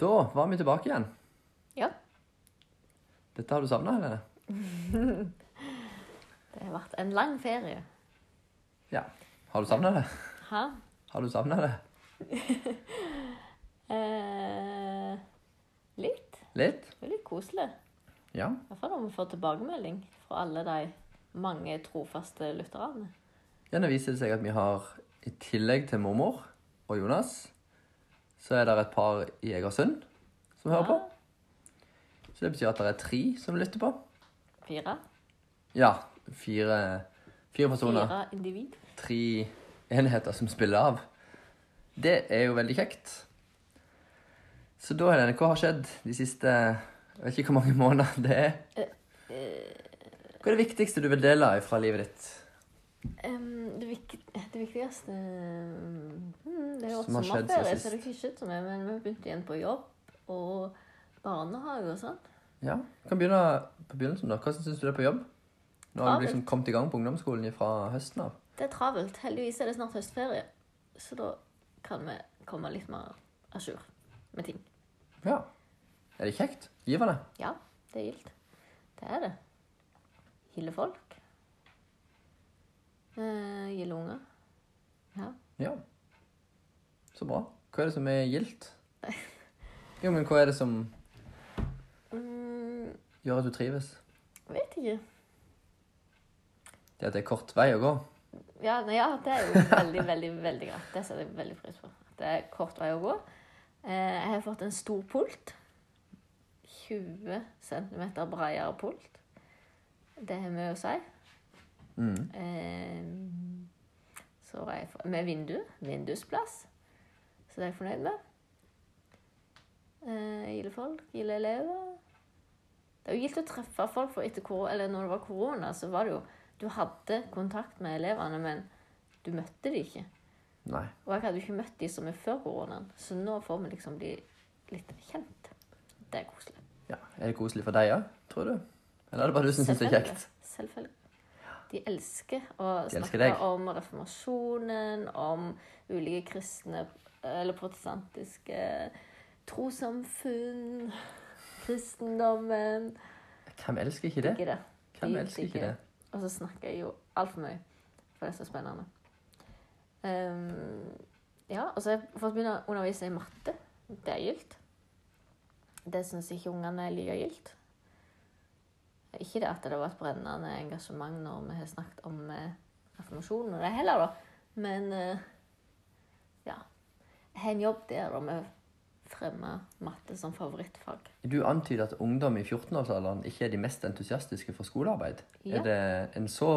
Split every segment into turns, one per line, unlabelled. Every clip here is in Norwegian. Da var vi tilbake igjen.
Ja.
Dette har du savna, Helene?
Det har vært en lang ferie.
Ja. Har du savna det?
Hæ?
Har du savna det?
Eh, litt.
Litt?
Det er litt koselig.
Ja.
I hvert fall når vi får tilbakemelding fra alle de mange trofaste lytterne.
Ja, Nå viser det seg at vi har, i tillegg til mormor og Jonas, så er det et par i Egersund som hører på. Så det betyr at det er tre som lytter på.
Fire.
Ja. Fire, fire personer.
Fire individ.
Tre enheter som spiller av. Det er jo veldig kjekt. Så da, Helene, hva har skjedd de siste Jeg vet ikke hvor mange måneder det er. Hva er det viktigste du vil dele fra livet ditt?
Em, det, vik det viktigste mm, Det er jo
Som har skjedd
sommerferie,
siden
så det er ikke skjedd så mye. Men vi begynte igjen på jobb og barnehage og sånn.
Ja, vi kan begynne på begynnelsen da. Hvordan syns du det er på jobb? Nå har du liksom kommet i gang på ungdomsskolen fra høsten av.
Det er travelt. Heldigvis er det snart høstferie, så da kan vi komme litt mer à jour med ting.
Ja. Er det kjekt? Givende?
Ja, det er gildt. Det er det. Gilde folk. Eh, Gilde unger. Ja.
Ja. Så bra. Hva er det som er gildt? Jo, men hva er det som
Mm,
gjør at du trives?
vet ikke.
Det at det er kort vei å gå.
Ja, nei, ja, det er jo veldig, veldig veldig greit. Det setter jeg veldig pris på. Det er kort vei å gå. Eh, jeg har fått en stor pult. 20 cm bredere pult. Det har mye å si.
Mm.
Eh, så var jeg for, med vindu. Vindusplass. Så det er jeg fornøyd med. Eh, gilde folk, gilde elever. Det er jo gildt å treffe folk, for etter kor eller når det var korona, så var det jo Du hadde kontakt med elevene, men du møtte de ikke.
Nei.
Og jeg hadde jo ikke møtt de som er før koronaen, så nå får vi liksom bli litt kjent. Det er koselig.
Ja. Er det koselig for deg òg, tror du? Eller er det bare du som syns det er kjekt?
Selvfølgelig. De elsker å
De elsker
snakke
deg.
om reformasjonen, om ulike kristne eller protestantiske trossamfunn, kristendommen
Hvem elsker ikke det?
Ikke det.
Hvem
De
elsker ikke
digger
det?
Og så snakker jeg jo altfor mye, for det er så spennende. Ehm, ja, og så har jeg fått begynne å undervise i matte. Det er gildt. Det syns ikke ungene er like gildt. Ikke det at det var et brennende engasjement når vi har snakket om eh, reformasjonen, og det heller, da. Men eh, ja. Jeg har en jobb der da med å fremme matte som favorittfag.
Du antyder at ungdom i 14-årsalderen ikke er de mest entusiastiske for skolearbeid.
Ja.
Er det en så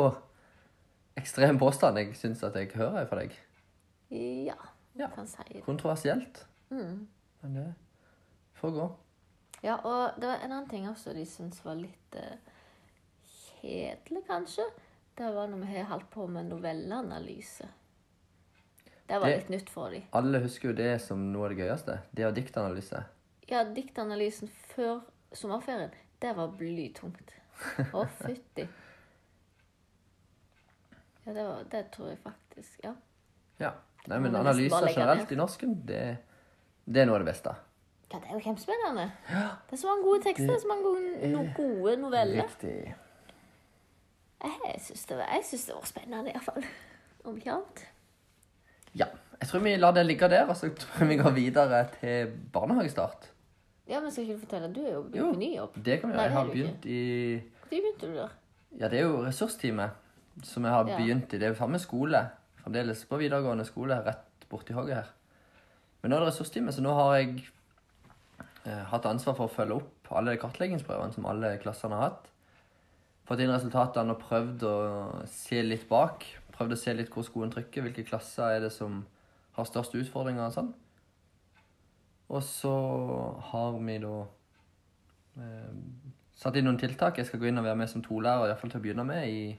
ekstrem påstand jeg syns at jeg hører fra deg?
Ja,
Ja.
kan si det.
Kontroversielt.
Mm.
Men det får gå.
Ja, og det var en annen ting også de syntes var litt eh, kjedelig, kanskje. Det var når vi har holdt på med novelleanalyse. Det var
Det-
litt nytt for dem.
Alle husker jo det som noe av det gøyeste. Det å diktanalyse.
Ja, diktanalysen før sommerferien, det var blytungt. Å, fytti. Ja, det, var, det tror jeg faktisk. Ja.
Ja. Nei, men
Må nesten bare
analyser
legge
generelt i norsken, det, det er noe av det beste.
ja, det er jo kjempespennende. Det er så mange gode tekster, så mange gode, no gode noveller.
Riktig.
Jeg syns det, var- jeg synes det var spennende, iallfall. Om ikke annet.
Ja. Jeg tror vi lar det ligge der, og så tror jeg vi går videre til barnehagestart.
Ja, men skal ikke du fortelle? Du er jo
Jo.
på ny jobb.
Det kan vi
Nei,
gjøre. Jeg har
det er det
begynt i
Når begynte du der?
Ja, det er jo ressursteamet som jeg har
Ja.
begynt i. Det er jo samme skole. Fremdeles på videregående skole rett borti hogget her. Men nå er det ressursteamet, så nå har jeg eh, hatt ansvar for å følge opp alle kartleggingsprøvene som alle klassene har hatt. Fått inn resultatene og prøvd å se litt bak. Prøvd å se litt hvor skoen trykker, hvilke klasser er det som har største utfordringer og sånn. Og så har vi da satt inn noen tiltak. Jeg skal gå inn og være med som to lærere, i hvert fall til å begynne med, i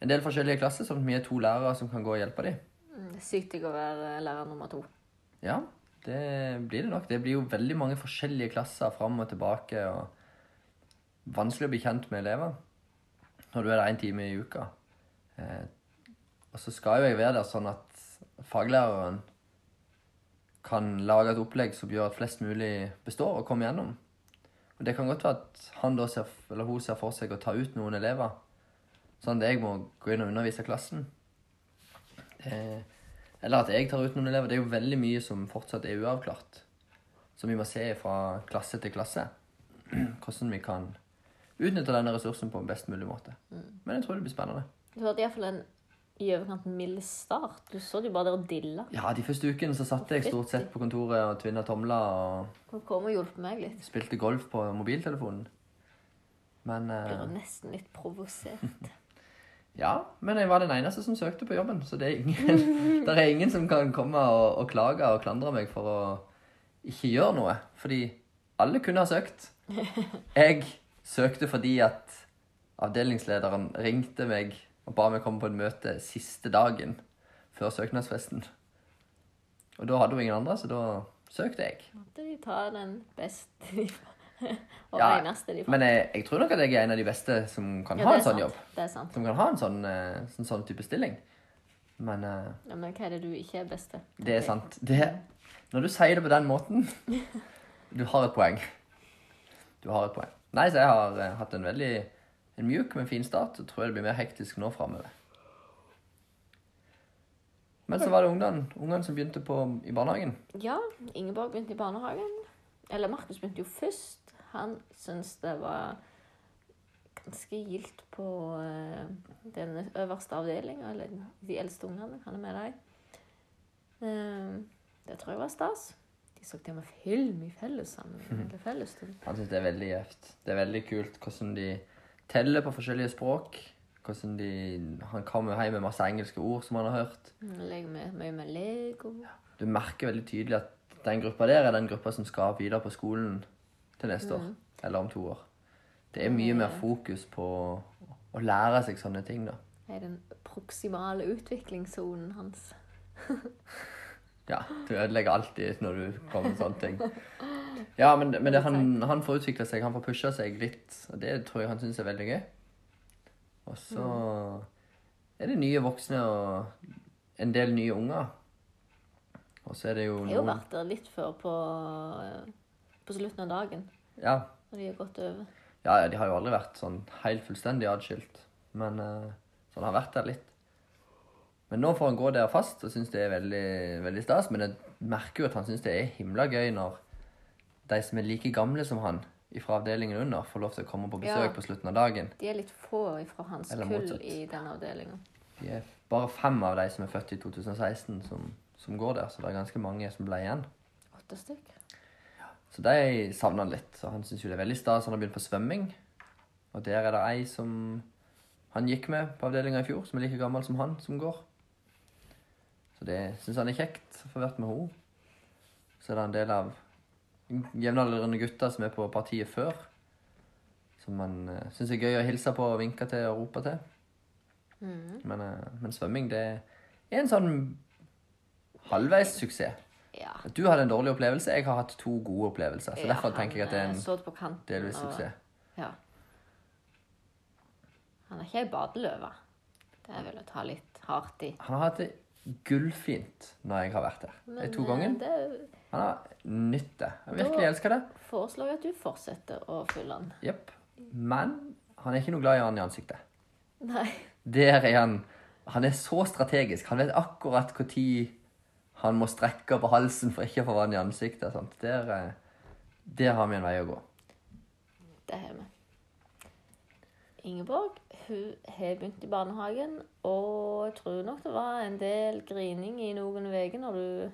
en del forskjellige klasser, sånn at vi er to lærere som kan gå og hjelpe dem.
Mm, det er Sykt digg å være lærer nummer to.
Ja, det blir det nok. Det blir jo veldig mange forskjellige klasser fram og tilbake, og vanskelig å bli kjent med elever når du er der én time i uka. Eh, og så skal jo jeg være der sånn at faglæreren kan lage et opplegg som gjør at flest mulig består og kommer gjennom. Og Det kan godt være at han da ser, eller hun ser for seg å ta ut noen elever, sånn at jeg må gå inn og undervise klassen. Det, eller at jeg tar ut noen elever. Det er jo veldig mye som fortsatt er uavklart. Som vi må se fra klasse til klasse. Hvordan vi kan utnytte denne ressursen på en best mulig måte. Men jeg tror det blir spennende.
Du hadde iallfall en i overkant mild start. Du så det jo bare der og dilla.
Ja, De første ukene så satt jeg stort sett på kontoret og tvinna tomler og
Hun kom og hjalp meg litt.
spilte golf på mobiltelefonen. Men eh,
Jeg var nesten litt provosert.
Ja, men jeg var den eneste som søkte på jobben, så det er ingen, der er ingen som kan komme og, og klage og klandre meg for å ikke gjøre noe. Fordi alle kunne ha søkt. Jeg søkte fordi at avdelingslederen ringte meg og ba meg komme på et møte siste dagen før søknadsfesten. Og da hadde hun ingen andre, så da søkte jeg.
Måtte de ta den beste de og
Ja,
eneste de
Men jeg, jeg tror nok at jeg er en av de beste som kan
Ja,
ha
det er
en sånn
sant.
jobb.
Det er sant.
Som kan ha en sånn, eh, sånn, sånn type stilling. Men eh,
Ja, men hva er det du ikke er best til?
Det er sant. Det, når du sier det på den måten Du har et poeng. Du har et poeng. Nei, så jeg har eh, hatt en veldig en mjuk, men fin start. Jeg tror jeg det blir mer hektisk nå framover. Men så var det ungene ungene som begynte på, i barnehagen.
Ja, Ingeborg begynte i barnehagen. Eller Markus begynte jo først. Han syntes det var ganske gildt på eh, den øverste avdelinga, eller de eldste ungene. Han er med deg. Eh, det tror jeg var stas. De så til og med film i fellessammenheng. eller fellesstund.
Han synes det er veldig gjevt. Det er veldig kult hvordan de teller på forskjellige språk. Hvordan de, han kommer hjem med masse engelske ord som han har hørt.
Legger Mm, med, mye med Lego.
du merker veldig tydelig at den gruppa der er den gruppa som skal videre på skolen til neste år. Eller om to år. Det er mye mer fokus på å lære seg sånne ting, da.
Det er den proksimale utviklingssonen hans.
Ja, du ødelegger alltid når du kommer med sånne ting. Ja, men, men det, han, han får utvikle seg, han får pusha seg litt, og det tror jeg han syns er veldig gøy. Og så Mm. er det nye voksne og en del nye unger. Og så er det jo
Jeg har jo
noen
vært der litt før på, eh, på slutten av dagen.
Ja,
Når de har gått over.
Ja, ja, de har jo aldri vært sånn helt fullstendig adskilt. Men eh, så han har vært der litt. Men nå får han gå der fast og syns det er veldig, veldig stas. Men jeg merker jo at han syns det er himla gøy når de som er like gamle som han fra avdelingen under, får lov til å komme på besøk
Ja.
på slutten av dagen.
De er litt få fra hans
Eller
kull
motsatt.
i den avdelinga.
De er bare fem av de som er født i 2016, som, som går der. Så det er ganske mange som ble igjen.
Åtte stykk.
Så de savner han litt. Og han syns jo det er veldig stas. Han har begynt på svømming. Og der er det ei som han gikk med på avdelinga i fjor, som er like gammel som han, som går. Så det syns han er kjekt å få vært med henne. Så er det en del av jevnaldrende gutter som er på partiet før. Som han uh, syns er gøy å hilse på og vinke til og rope til. Men, eh, men svømming, det er en sånn halvveis suksess.
Ja.
Du hadde en dårlig opplevelse, jeg har hatt to gode opplevelser. Så derfor tenker jeg at det er
han, eh,
en
så det på kanten,
delvis
og-
suksess.
Ja. Han er ikke ei badeløve. Det er vel å ta litt hardt i.
Han har hatt det gullfint når jeg har vært her. De to
eh,
ganger.
det
Han har nytt det. Jeg virkelig elsker det.
foreslår jeg at du fortsetter å fylle den.
Jepp. Men han er ikke noe glad i han i ansiktet.
Nei.
Der er han. Han er så strategisk. Han vet akkurat når han må strekke på halsen for ikke å få vann i ansiktet. Sant? Der, eh, der har vi en vei å gå.
Det har vi. Ingeborg hun har begynt i barnehagen, og jeg tror nok det var en del grining i noen uker når du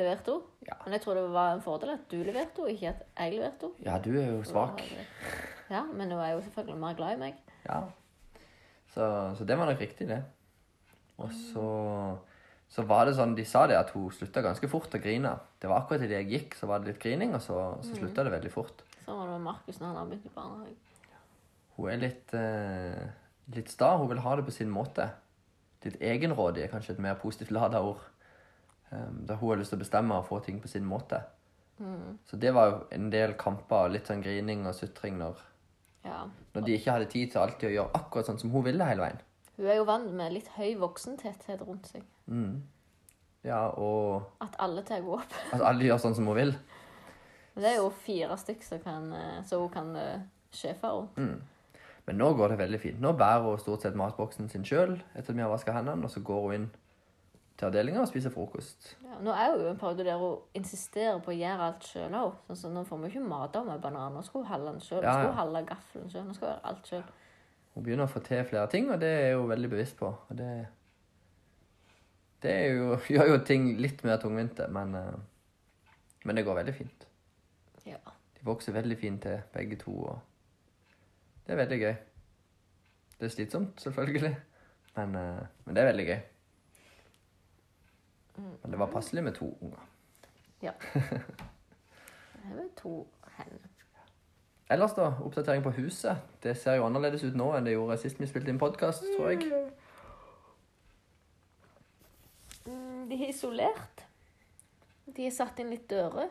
leverte henne.
Ja.
Men jeg tror det var en fordel at du leverte henne, ikke at jeg leverte henne.
Ja, du er jo svak.
Ja, men hun er jo selvfølgelig mer glad i meg.
Ja. Så, så det var nok riktig, det. Og så, så var det sånn, de sa det at hun slutta ganske fort å grine. Det var akkurat idet jeg gikk, så var det litt grining, og så, så slutta det veldig fort.
Sånn var det med Markus når han har begynt i barnehagen.
Hun er litt, eh, litt sta. Hun vil ha det på sin måte. Litt egenrådig er kanskje et mer positivt lada ord. Um, der hun har lyst til å bestemme og få ting på sin måte. Så det var jo en del kamper og litt sånn grining og sutring når,
Ja.
når de ikke hadde tid til alltid å gjøre akkurat sånn som hun ville hele veien.
Hun er jo vant med litt høy voksentetthet rundt seg.
Ja, og
At alle tar henne opp.
at alle gjør sånn som hun vil.
Men det er jo fire stykk som kan, eh, så hun kan eh, sjefe henne.
Men nå går det veldig fint. Nå bærer hun stort sett matboksen sin sjøl etter at vi har vaska hendene, og så går hun inn til avdelinga og spiser frokost.
Ja, nå er hun jo en periode der hun insisterer på å gjøre alt sjøl òg. Sånn som nå får vi ikke mat av med bananer. Nå skal hun halve den sjøl. Nå
Ja,
skal
ja.
hun halve gaffelen sjøl. Nå skal hun gjøre alt sjøl.
Hun begynner å få til flere ting, og det er hun veldig bevisst på. Og det det er jo, gjør jo ting litt mer tungvinte, men, eh, men det går veldig fint.
Ja.
De vokser veldig fint til, begge to. og Det er veldig gøy. Det er slitsomt, selvfølgelig, men, eh, men det er veldig gøy. Men det var passelig med to unger.
ja. Det er vel to hender.
Ellers, da? Oppdatering på huset. Det ser jo annerledes ut nå enn det gjorde sist vi spilte inn podkast, tror jeg.
Mm, De er isolert. De har satt inn litt dører.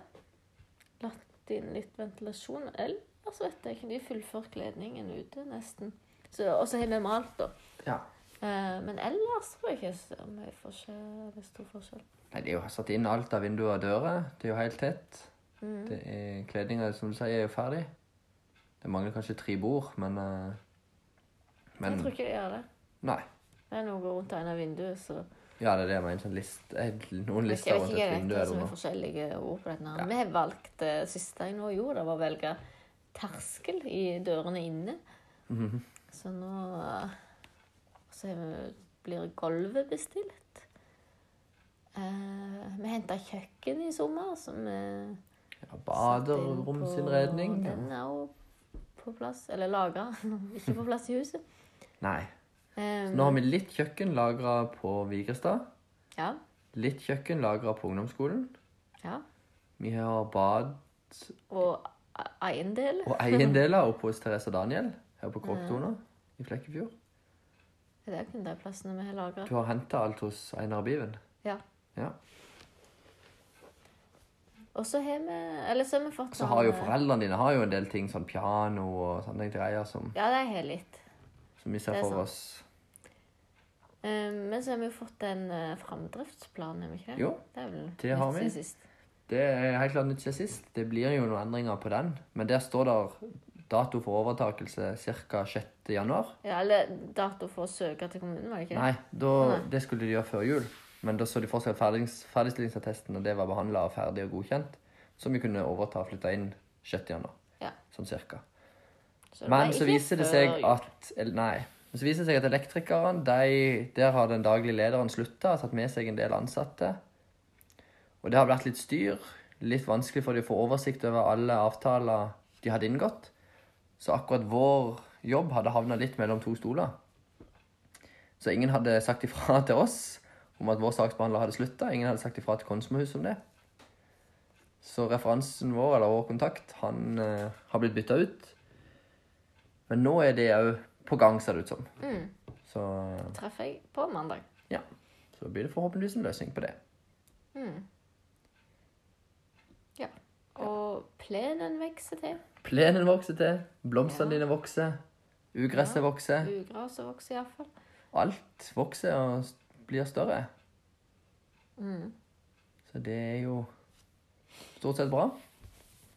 Lagt inn litt ventilasjon. Ellers vet jeg ikke. De har fullført kledningen ute, nesten. Så- Og så har vi malt, da.
Ja.
Eh, Men ellers tror jeg ikke så mye forskjell. eller stor forskjell.
Nei, De har jo satt inn alt av vinduer og dører. Det er jo helt tett.
Mm.
Det er Kledninga som du sier, er jo ferdig. Det mangler kanskje tre bord, men eh, Men
Jeg tror ikke de gjør det.
nei.
Det er noe rundt en av vinduene, så
Ja, det er det jeg mener. Sånn list, eh, noen
Jeg vet
lister
ikke
rundt
hva
et
det
vindu
heter
er
som
det
er
noe.
forskjellige ord på dette. her.
Ja.
Vi har valgt det siste jeg nå gjorde, det var å velge terskel i dørene inne.
Mhm.
Så nå eh, så har vi, blir gulvet bestilt. Eh, vi henta kjøkken i sommer, som vi
Ja,
Baderomsinnredning.
Baderomsinnredning.
Den er jo på plass, eller lagra. Ikke på plass i huset.
Nei.
Um,
Nå har vi litt kjøkken lagra på Vigrestad.
ja,
Litt kjøkken lagra på ungdomsskolen.
ja.
Vi har bad
Og e- eiendel.
og eiendeler oppe hos Therese og Daniel her på
Mm.
Kråketona i Flekkefjord.
Det er kun de plassene vi har lagra.
Du har henta alt hos Einar Biven.
Ja.
Ja.
Og så har vi Eller så har vi fått
Så har jo
sånn, eh,
foreldrene dine har jo en del ting, sånn piano og sånne greier som,
Ja, de har litt.
som vi ser
Det er
for
sant.
oss.
Um, men så har vi jo fått en eh, framdriftsplan, har vi ikke det?
Jo,
det, er vel
det har
nytt
vi.
siden Sist.
Det er helt klart nytt siden sist. Det blir jo noen endringer på den. Men der står der dato for overtakelse ca. 6. januar.
Ja, eller dato for å søke til kommunen, var det ikke det?
Nei, da,
Nei.
det skulle de gjøre før jul. Men da så de fortsatt ferdig- ferdigstillingsattesten, og det var behandla og ferdig og godkjent. Som vi kunne overta og flytte inn 6. januar.
Ja.
Sånn cirka.
Så det
Men
var
så
ikke
viser det
før
seg
jul.
at eller Nei. Men så viser det seg at elektrikeren, de, der har den daglige lederen slutta, har tatt med seg en del ansatte. Og det har vært litt styr. Litt vanskelig for de å få oversikt over alle avtaler de hadde inngått. Så akkurat vår jobb hadde havna litt mellom to stoler. Så ingen hadde sagt ifra til oss om at vår saksbehandler hadde slutta. Ingen hadde sagt ifra til Konsmohus om det. Så referansen vår, eller vår kontakt, han eh, har blitt bytta ut. Men nå er det òg på gang, ser det ut som.
Mm.
Så
Traff jeg på mandag.
ja. Så blir det forhåpentligvis en løsning på det.
Ja. Og plenen vokser til.
Plenen vokser til, blomstene
Ja.
dine vokser, ugresset vokser.
Ugraset vokser iallfall.
Alt vokser og s- blir større.
Mm.
Så det er jo stort sett bra.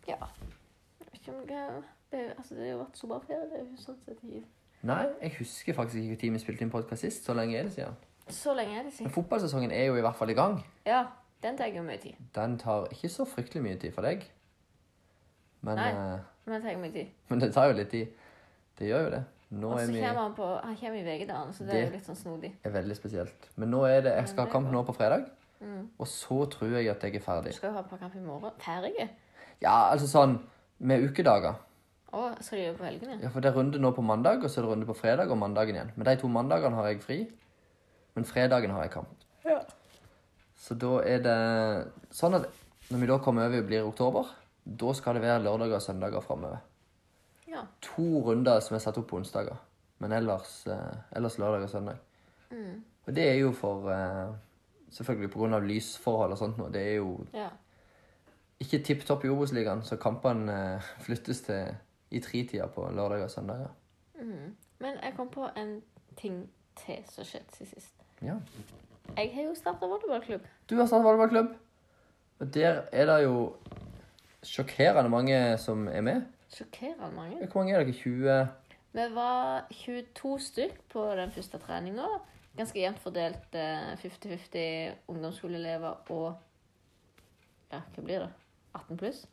Ja. Jeg vet ikke om jeg, det, altså, det har jo vært så bra ferie. Det er jo sånn sett ikke
Nei, jeg husker faktisk ikke når vi spilte inn podkast sist. Så lenge er det siden.
Så lenge er det
Men
siden.
fotballsesongen er jo i hvert fall i gang.
Ja, den tar jo mye tid.
Den tar ikke så fryktelig mye tid for deg. Men,
Nei.
eh,
Men den tar jo mye tid.
men det tar jo litt tid. Det gjør jo det. Nå
Og så
er vi
kommer han på Han kommer i VG-dagen, så det, er
Det-
jo litt sånn snodig.
er veldig spesielt. Men nå er det, jeg skal
det
ha
er
kamp
bra.
nå på fredag. Og så tror jeg at jeg er
Du
ferdig.
skal jo ha på kamp i morgen. Ferdige?
Ja, altså sånn med ukedager.
Å, skal de gjøre på helgene?
Ja, for det er runde nå på mandag, og så er det runde på fredag og mandagen igjen. Men de to mandagene har jeg fri, men fredagen har jeg kamp.
Ja.
Så da er det sånn at når vi da kommer over og blir i oktober, da skal det være lørdager og søndager framover.
Ja.
To runder som er satt opp på onsdager, men ellers, eh, ellers lørdag og søndag. Og det er jo for eh, Selvfølgelig pga. lysforhold og sånt nå. Det er jo
ja.
ikke tipp topp i Obos-ligaen, så kampene eh, flyttes til i tritida på lørdager og søndager.
Mm. Men jeg kom på en ting til som skjedde siden sist.
Ja.
Jeg har jo starta volleyballklubb.
Du har startet volleyballklubb. Og der er det jo sjokkerende mange som er med.
Sjokkerende mange.
Hvor mange er dere? 20?
Vi var 22 stykk på den første treninga. Ganske jevnt fordelt eh, 50-50 ungdomsskoleelever og ja, hva blir det? 18 pluss.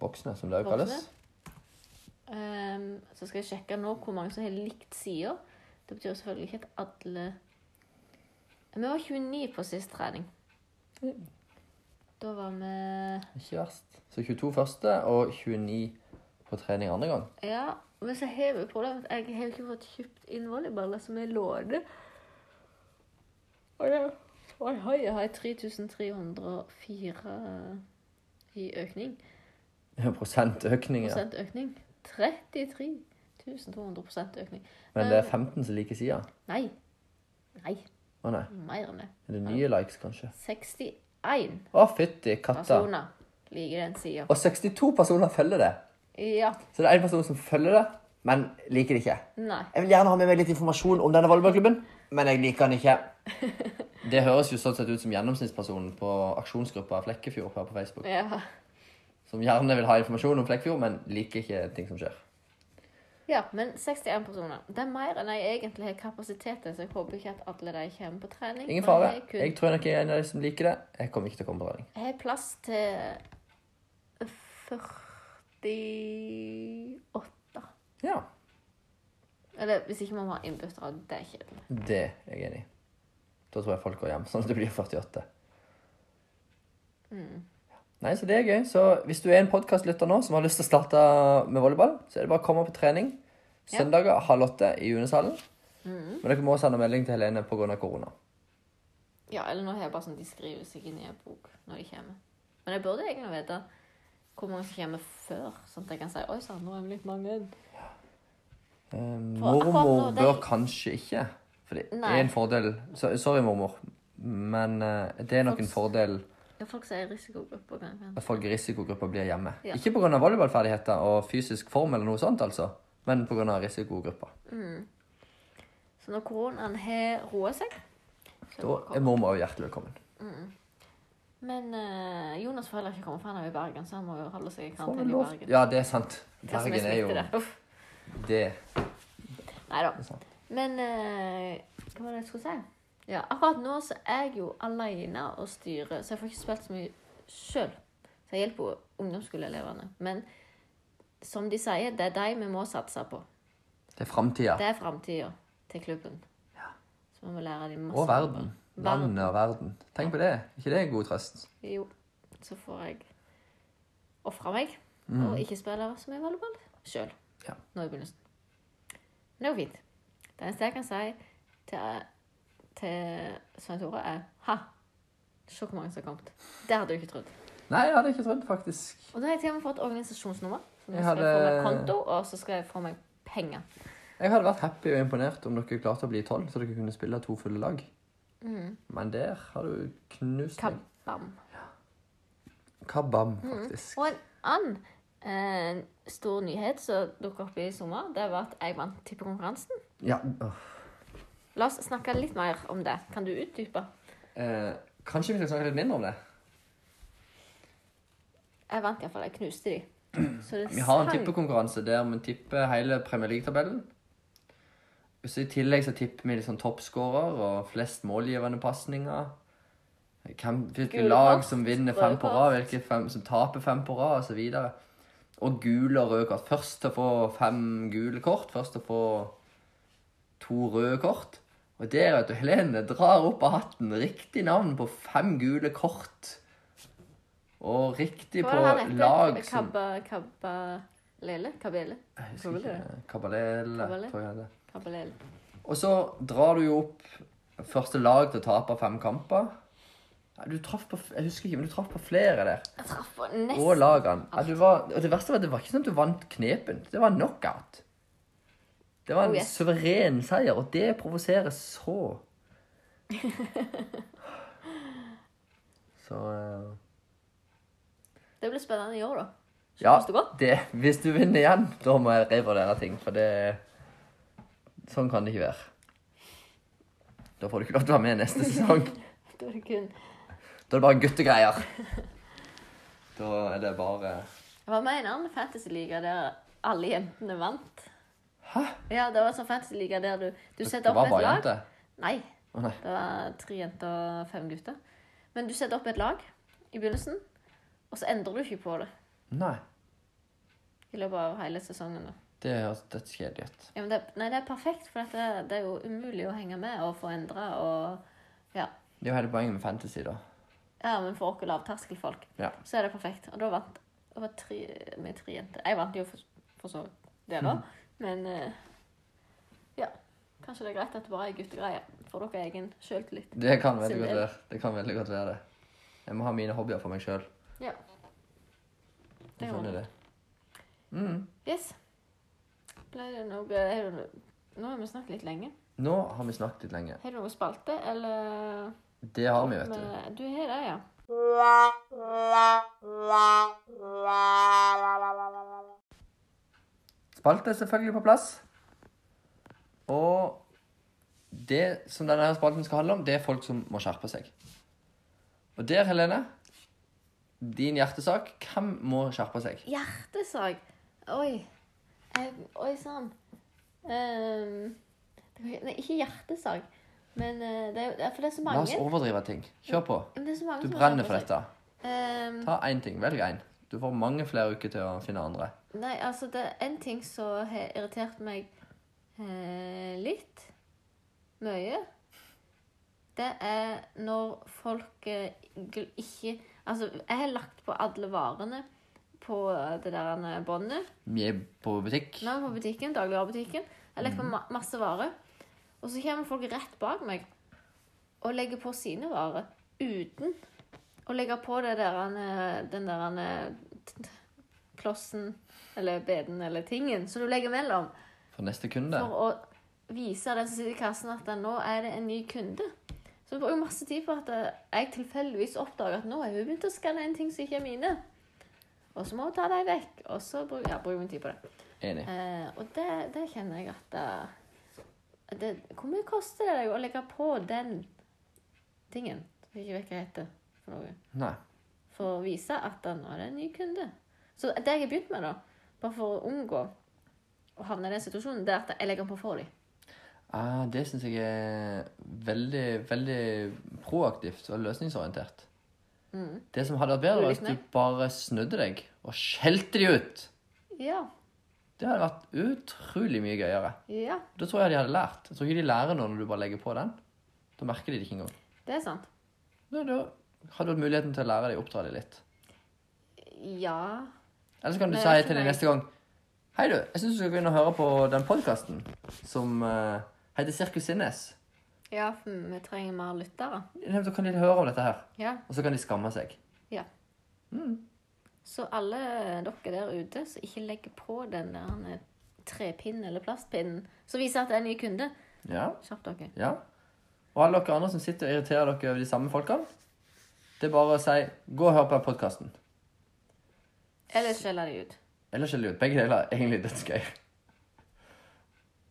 Voksne, som det også kalles.
Voksne. Ehm, så skal jeg sjekke nå hvor mange som har likt sida. Det betyr selvfølgelig ikke at alle Vi var 29 på sist trening. Da var vi
Ikke verst. Så 22 første og 29 på trening andre gang.
Ja, men så har vi problemet at jeg har jo ikke fått kjøpt inn volleyballer som er låne. Og det Oi, oi, jeg har 3304 i økning.
Prosentøkning, ja.
Prosent økning. 33 200 prosent økning.
Men
Eh.
det er 15 som liker sida.
Nei. Nei,
Å nei.
mer enn det.
Er det nye likes, kanskje?
61
Å, fytti katta.
personer liker den sida.
Og 62 personer følger det.
Ja.
Så det er én person som følger det, men liker det ikke.
Nei.
Jeg vil gjerne ha med meg litt informasjon om denne volleyballklubben, men jeg liker den ikke. Det høres jo sånn sett ut som gjennomsnittspersonen på aksjonsgruppa Flekkefjord her på Facebook.
Ja.
Som gjerne vil ha informasjon om Flekkefjord, men liker ikke ting som skjer.
ja, men 61 personer. Det er mer enn jeg egentlig har kapasitet til, så jeg håper ikke at alle de kommer på trening.
Ingen
Og
fare.
jeg kun-
Jeg tror nok jeg er en av de som liker det. Jeg kommer ikke til å komme på trening.
Jeg har plass til 48.
Ja,
Eller hvis ikke man har innbyttere, det er kjedelig.
det er jeg enig i. Da tror jeg folk går hjem, sånn at det blir 48.
Mm.
Nei, så det er gøy. Så hvis du er en podkastlytter nå som har lyst til å starte med volleyball, så er det bare å komme på trening
Ja. Mm.
søndager halv åtte i Juneshallen. Men dere må sende melding til Helene pga. korona.
Ja, eller nå har jeg bare sånn de skriver seg inn i en bok når de kommer. Men jeg burde egentlig vite hvor mange som kommer før, sånn at jeg kan si Oi sann, nå er vi litt mange.
Eh,
For akkurat
mormor
nå, det-
bør kanskje ikke. For det
Nei.
er en fordel so, Sorry, mormor, men eh, det er nok en fordel
Ja, folk sier risikogrupper kan kan.
at folk i risikogrupper blir hjemme.
Ja.
Ikke pga. volleyballferdigheter og fysisk form, eller noe sånt, altså, men pga. risikogrupper.
Så når koronaen har roa seg så
Da er mormor også hjertelig velkommen.
Men eh, Jonas får heller ikke komme, for han er jo i Bergen, så han må jo holde seg i
Får vi
karantene i
lov-
Bergen.
Ja, det er sant.
Hva som
Bergen er jo
smitte der. Uff.
det.
Nei da.
sant.
Men eh, hva var det jeg skulle si? Ja, akkurat nå så er jeg jo alene og styrer, så jeg får ikke spilt så mye sjøl. Så jeg hjelper jo ungdomsskoleelevene. Men som de sier, det er de vi må satse på.
Det er framtida.
Det er framtida til klubben. Så vi må lære dem masse.
Og verden.
Verden.
Landet og verden. Tenk på det. Er ikke det en god trøst?
Jo, så får jeg ofre meg og ikke spille så mye volleyball sjøl
Mm. Ja.
nå i begynnelsen. Men det går fint. Det eneste jeg kan si til, til Svein Tore, er Ha! Se hvor mange som har kommet. Det hadde du ikke trodd.
Nei, jeg hadde ikke trodd, faktisk.
Og da har jeg til og med fått organisasjonsnummer. Så nå
Jeg
skal jeg få
hadde-
meg konto, og så skal jeg få meg penger.
Jeg hadde vært happy og imponert om dere klarte å bli tolv, så dere kunne spille to fulle lag.
Mm.
Men der har du knust meg.
Kabam.
Kabam, faktisk.
Mm. Og en annen eh, stor nyhet som dukket opp i sommer, det var at jeg vant tippekonkurransen.
Ja. åh.
La oss snakke litt mer om det. Kan du utdype?
Eh, kanskje vi skal snakke litt mindre om det?
Jeg vant iallfall. Jeg knuste de. Så det
Vi har en
sang-
tippekonkurranse der vi tipper hele Premier League-tabellen. Så I tillegg så tipper vi liksom toppskårer og flest målgivende pasninger. Hvem- Hvilke
Gule
lag
kort,
som vinner
røde
fem på
kort.
rad, hvilke fem som taper fem på rad, osv. Og, og gule og røde kort. Først til å få fem gule kort, først til å få to røde kort. Og der, vet du, Helene drar opp av hatten riktig navn på fem gule kort. Og riktig
Hva var det
på
han het?
lag som
Kabba... Kabba... Lele? Kabele?
jeg husker
Kabale.
ikke. Kabalele,
Kabale.
tror jeg det.
Kabelele.
Og så drar du jo opp første lag til å tape fem kamper. Nei, du traff på, f- jeg husker ikke, men du traff på flere der.
Jeg traff på
Og
nesten.
lagene. Ja, du var, og det verste var at det var ikke sånn at du vant knepent. Det var knockout. Det var en
Oh, yes.
suveren seier, og det provoserer så. Så eh,
Det blir spennende i år, da.
Ja,
Synes du godt?
det, hvis du vinner igjen, da må jeg revurdere ting, for det Sånn kan det ikke være. Da får du ikke lov til å være med neste sesong.
Da er det kun
Da er det bare guttegreier. Da er det bare
Jeg var med i en annen fantasyliga der alle jentene vant. Hæ? Ja, det var en sånn fantasyliga der du, du setter
Det var
opp et
bare
lag.
jenter.
Nei,
Å nei.
det var tre jenter og fem gutter. Men du setter opp et lag i begynnelsen, og så endrer du ikke på det
Nei.
i løpet av hele sesongen. da.
Det høres dødskjedelig ut.
Ja, men det, nei, det er perfekt, for dette, det er jo umulig å henge med og få endra og ja.
Det er jo hele poenget med fantasy, da.
ja, men for oss lavterskelfolk,
Ja.
så er det perfekt. Og da vant det var tre, med tre jenter. Jeg vant jo for, for så vidt det,
Mm.
da. Men eh, ja. Kanskje det er greit at det bare er guttegreier. Får dere egen sjøltillit.
Det kan veldig
Sin
godt
del.
være det. kan veldig godt være det. Jeg må ha mine hobbyer for meg sjøl.
Ja. Det
Sånn er
var det.
det. Mm.
Yes. Ble det noe er det noe- Nå har vi snakket litt lenge.
Nå har vi snakket litt lenge.
Har du noe spalte, eller
Det har vi, vet du.
Men, Du har det, ja.
Spalte er selvfølgelig på plass. Og det som denne her spalten skal handle om, det er folk som må skjerpe seg. Og der, Helene, din hjertesak, hvem må skjerpe seg?
Hjertesak. Oi. Jeg, oi sann. Ehm, det kan ikke- nei, ikke hjertesak, men eh, det er, jo- det er, for det er så
La
mange.
oss overdrive ting. Kjør på.
Men det er så mange
Du
som
brenner
skjerper
for
seg.
dette.
Ehm,
Ta én ting. Velg én. Du får mange flere uker til å finne andre.
nei, altså, det er en ting som har irritert meg eh, litt. Mye. Det er når folk eh, gl- ikke Altså, jeg har lagt på alle varene på det der eh, båndet.
Vi er på butikk.
Nei, på butikken, dagligvarebutikken. Jeg legger på ma masse varer. Og så kommer folk rett bak meg og legger på sine varer uten å legge på det der, eh, den der eh, t- t- klossen eller beden eller tingen som du legger mellom
For neste kunde.
for å vise den som sitter i kassen at nå er det en ny kunde. Så jeg bruker masse tid på at eh, jeg tilfeldigvis oppdager at nå har hun begynt å skanne en ting som ikke er mine. Og så må hun ta dem vekk. Og så bruker ja, bruker min tid på det.
Enig.
Eh, og det, det kjenner jeg at eh, det, Hvor mye koster det deg å legge på den tingen? Som jeg ikke vet hva heter for noe.
Nei.
For å vise at da nå er det en ny kunde. Så det jeg har begynt med, da, bare for å unngå å havne i den situasjonen, det er at jeg legger den på for dem.
Ah, det syns jeg er veldig, veldig proaktivt og løsningsorientert. Det som hadde vært bedre, var hvis
Ulykkene.
du bare snudde deg og skjelte de ut.
Ja.
Det hadde vært utrolig mye gøyere.
Ja.
Da tror jeg de hadde lært. Jeg tror ikke de lærer nå når du bare legger på den. Da merker de det ikke engang.
Det er sant.
Da, da hadde du hatt muligheten til å lære dem, oppdra dem litt.
Ja.
Eller så kan du
Nei,
si
jeg vet
til
ikke,
dem
nei.
neste gang Hei, du. Jeg syns du skal gå inn og høre på den podkasten som eh, heter Sirkus Sinnes.
Ja, for vi trenger mer lyttere.
Nei, Da kan de høre om dette her,
Ja.
og så kan de skamme seg.
Ja. Mm. Så alle dere der ute som ikke legger på den der eh, trepinnen eller plastpinnen som viser at det er en ny kunde,
Ja.
kjapp dere.
Ja. Og alle dere andre som sitter og irriterer dere over de samme folkene, det er bare å si 'gå og hør på podkasten'.
Eller skjeller de ut.
Eller skjell de ut. Begge deler er egentlig dødsgøy.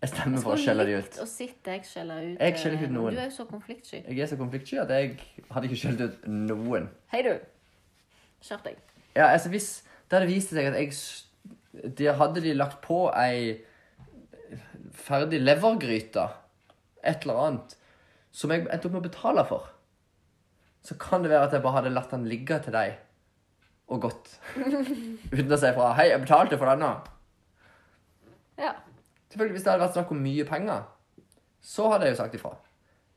Jeg stemmer for å
Skulle
skjelle de
likt
ut.
å sitte jeg skjeller ut.
Jeg skjeller ikke ut
eh,
noen.
Du er jo så konfliktsky.
Jeg er så konfliktsky at jeg hadde ikke skjelt ut noen.
Hei, du. Skjerp deg.
Ja, altså hvis Det hadde vist seg at jeg s- de Hadde de lagt på ei ferdig levergryte, et eller annet, som jeg endte opp med å betale for, så kan det være at jeg bare hadde latt den ligge til deg og gått. Uten å si fra 'Hei, jeg betalte for denne'.
Ja.
Selvfølgelig, Hvis det hadde vært snakk om mye penger, så hadde jeg jo sagt ifra.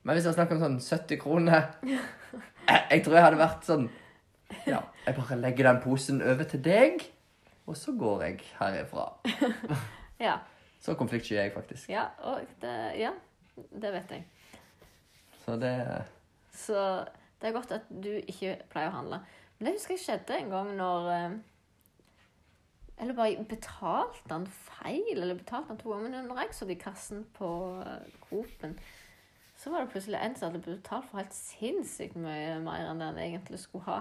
Men hvis det var snakk om sånn 70 kroner jeg, jeg tror jeg hadde vært sånn Ja, jeg bare legger den posen over til deg, og så går jeg herifra.
Ja.
Så konfliktsky er jeg faktisk.
Ja, og det, ja. det vet jeg.
Så det
Så det er godt at du ikke pleier å handle. Men det husker jeg skjedde en gang når eh, Eller bare betalte han feil, eller betalte han to ganger. Men når jeg satt i kassen på eh, Coop-en, så var det plutselig en som hadde betalt for helt sinnssykt mye mer enn det han egentlig skulle ha.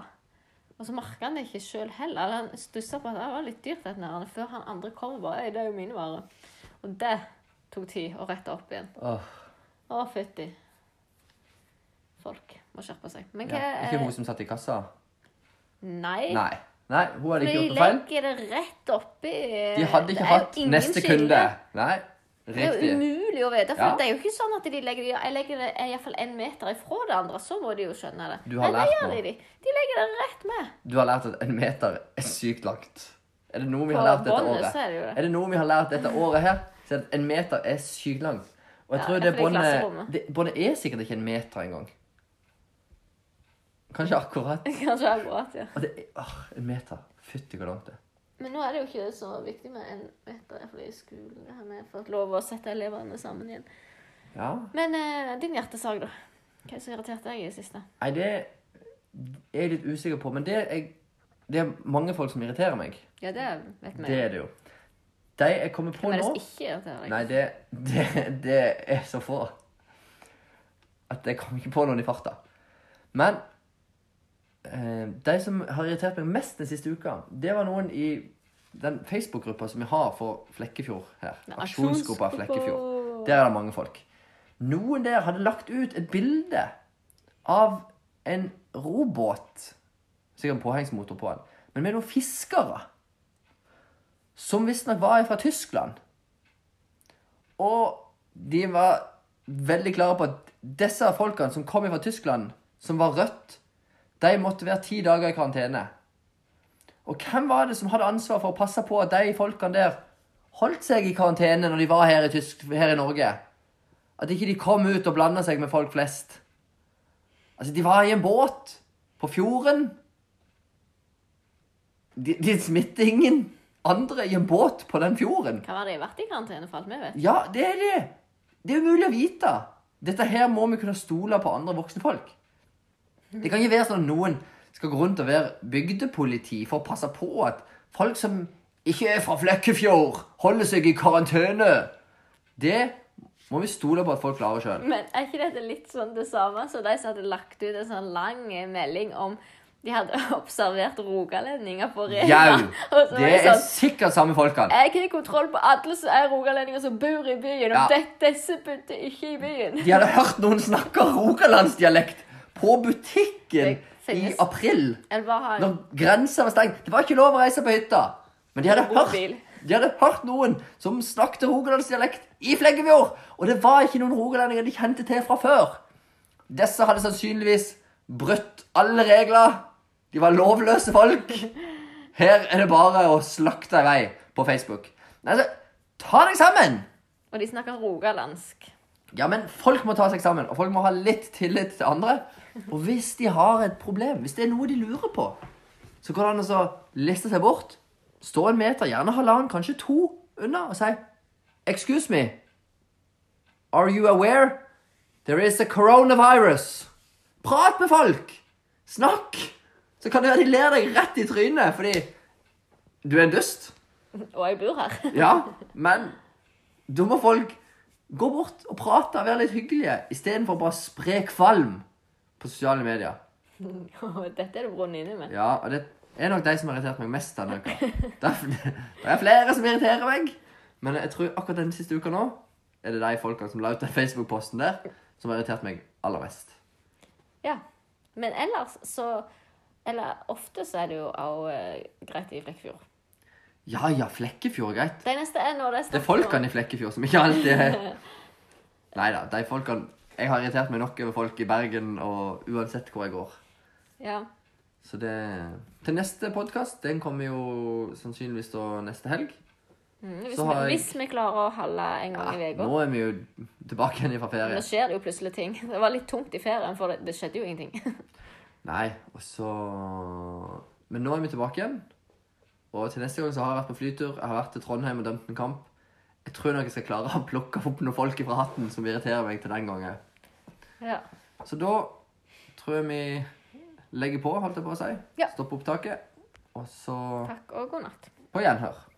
Og så merka han det ikke sjøl heller. Eller han stussa på at det var litt dyrt, dette her, før han andre kom og bare Øy, det er jo mine varer. Og det tok tid å rette opp igjen.
Åh,
Å, fytti. Folk må skjerpe seg. Men hva
Ja. Ikke hun som satt i kassa?
Nei.
Nei. Nei, hun hadde ikke
For de
gjort noe feil.
legger det rett oppi
De hadde ikke hatt neste kunde. Nei,
Det er jo
riktig.
umulig å vite. For
Ja.
det er jo ikke sånn at de legger det Jeg legger det iallfall én meter ifra det andre, så må de jo skjønne det.
Du har
Nei, det
lært
gjør
noe.
de, de. De legger det rett med.
Du har lært at en meter er sykt langt. Er det noe vi
På
har lært dette
båndet
året?
så er det jo det.
Er det noe vi har lært dette året her, så er det at en meter er sykt lang. Og jeg
Ja,
tror
jeg
det
tror det er
båndet
klasserommet.
det- Båndet er sikkert ikke en meter engang. Kanskje akkurat.
Kanskje akkurat, ja.
Og det er, åh, en meter. Fytti hvor langt det er.
Men nå er det jo ikke så viktig med en meter, fordi skolen har vi fått lov å sette elevene sammen igjen.
Ja.
Men eh, din hjertesak, da. Hva er det som irriterte deg i det siste?
Nei, det er jeg litt usikker på. Men det er, det er mange folk som irriterer meg.
Ja, det vet vi.
Det er det jo. De jeg kommer på
Men det
nå
som ikke irriterer deg?
Nei, det, det, det er så få at jeg kom ikke på noen i farta. Men eh, de som har irritert meg mest den siste uka, det var noen i den Facebook-gruppa som vi har for Flekkefjord her.
Nei,
Aksjonsgruppa Flekkefjord.
aksjonsgruppa.
Der er det mange folk. Noen der hadde lagt ut et bilde av en robåt. Sikkert en påhengsmotor på den. Men med noen fiskere. Som visstnok var fra Tyskland. Og de var veldig klare på at disse folkene som kom fra Tyskland, som var rødt, de måtte være ti dager i karantene. Og hvem var det som hadde ansvar for å passe på at de folkene der holdt seg i karantene når de var her i, Tysk her i Norge? At ikke de kom ut og blanda seg med folk flest. Altså, de var i en båt på fjorden. De, de smitter ingen andre i en båt på den fjorden.
Hva var det i vært i karantene for alt vi vet?
Ja, det er det. Det er umulig å vite. Dette her må vi kunne stole på andre voksne folk. Det kan ikke være sånn at noen skal gå rundt og være bygdepoliti for å passe på at folk som ikke er fra Flekkefjord, holder seg i karantene. Det må vi stole på at folk klarer sjøl.
Men er ikke dette litt sånn det samme som de som hadde lagt ut en sånn lang eh, melding om de hadde observert rogalendinger på Rena?
Jau!
Og så var
Det
det
er
sånn
sikkert samme folkene.
Jeg har kontroll på alle som er rogalendinger som bor i byen,
Ja.
og dette, disse bodde ikke i byen.
De hadde hørt noen snakke rogalandsdialekt på butikken
Det
i
finnes.
april.
Eller bare ha en
Når grensa var stengt. Det var ikke lov å reise på hytta. Men de hadde hørt,
Mobil.
de hadde hørt noen som snakket rogalandsdialekt i Flekkefjord. Og det var ikke noen rogalendinger de kjente til fra før. Disse hadde sannsynligvis brutt alle regler. De var lovløse folk. Her er det bare å slakte i vei på Facebook. Nei, altså, ta deg sammen!
Og de snakker rogalandsk.
Ja, men folk må ta seg sammen, og folk må ha litt tillit til andre. Og hvis de har et problem, hvis det er noe de lurer på, så går det an å så liste seg bort, stå en meter, gjerne halvannen, kanskje to unna, og si Excuse me, are you aware there is a coronavirus? Prat med folk! Snakk! Så kan det være de ler deg rett i trynet fordi du er en dust.
Og jeg bor her.
Ja, men da må folk gå bort og prate og være litt hyggelige, istedenfor bare å spre kvalm på sosiale medier.
Og dette er det brunnet inne med.
Ja, og det er nok de som har irritert meg mest denne uka. Det er, det er flere som irriterer meg, men jeg tror akkurat den siste uka nå er det de folkene som la ut den Facebook-posten der, som har irritert meg aller mest.
Ja. Men ellers så Eller ofte så er det jo også eh, greit i Flekkefjord.
Ja ja, Flekkefjord er greit.
Det neste er når det er
Det er
snakk om-
folkene i Flekkefjord som ikke alltid er Nei da, de folkene Jeg har irritert meg nok over folk i Bergen og uansett hvor jeg går.
Ja.
Så det Til neste podkast, den kommer jo sannsynligvis da neste helg.
Mm, hvis,
Så har
vi,
jeg-
hvis vi klarer å holde en gang i uka.
Ah, nå er vi jo tilbake igjen fra ferie.
Nå skjer det jo plutselig ting. Det var litt tungt i ferien, for det, det skjedde jo ingenting.
Nei, og så Men nå er vi tilbake igjen. Og til neste gang så har jeg vært på flytur. Jeg har vært til Trondheim og dømt en kamp. Jeg tror nok jeg skal klare å plukke opp noen folk fra hatten som irriterer meg til den gangen.
Ja.
Så da tror jeg vi legger på, holdt jeg på å si.
Ja.
Stopper opptaket. Og så
Takk og god natt.
på gjenhør.